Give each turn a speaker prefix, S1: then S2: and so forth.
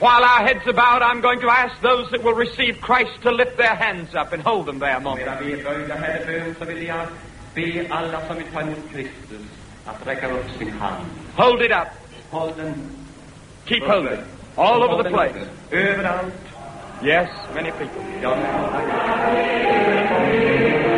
S1: While our heads are bowed, I'm going to ask those that will receive Christ to lift their hands up and hold them there a moment.
S2: Medan vi är böjda här i bön så vill jag be alla som vill ta emot Kristus att räcka upp sin hand.
S1: Hold it up.
S2: Håll den
S1: Keep
S2: uppe.
S1: holding. All
S2: Håll
S1: over the
S2: den
S1: place.
S2: uppe. Överallt.
S1: Yes, many people.
S2: Ja,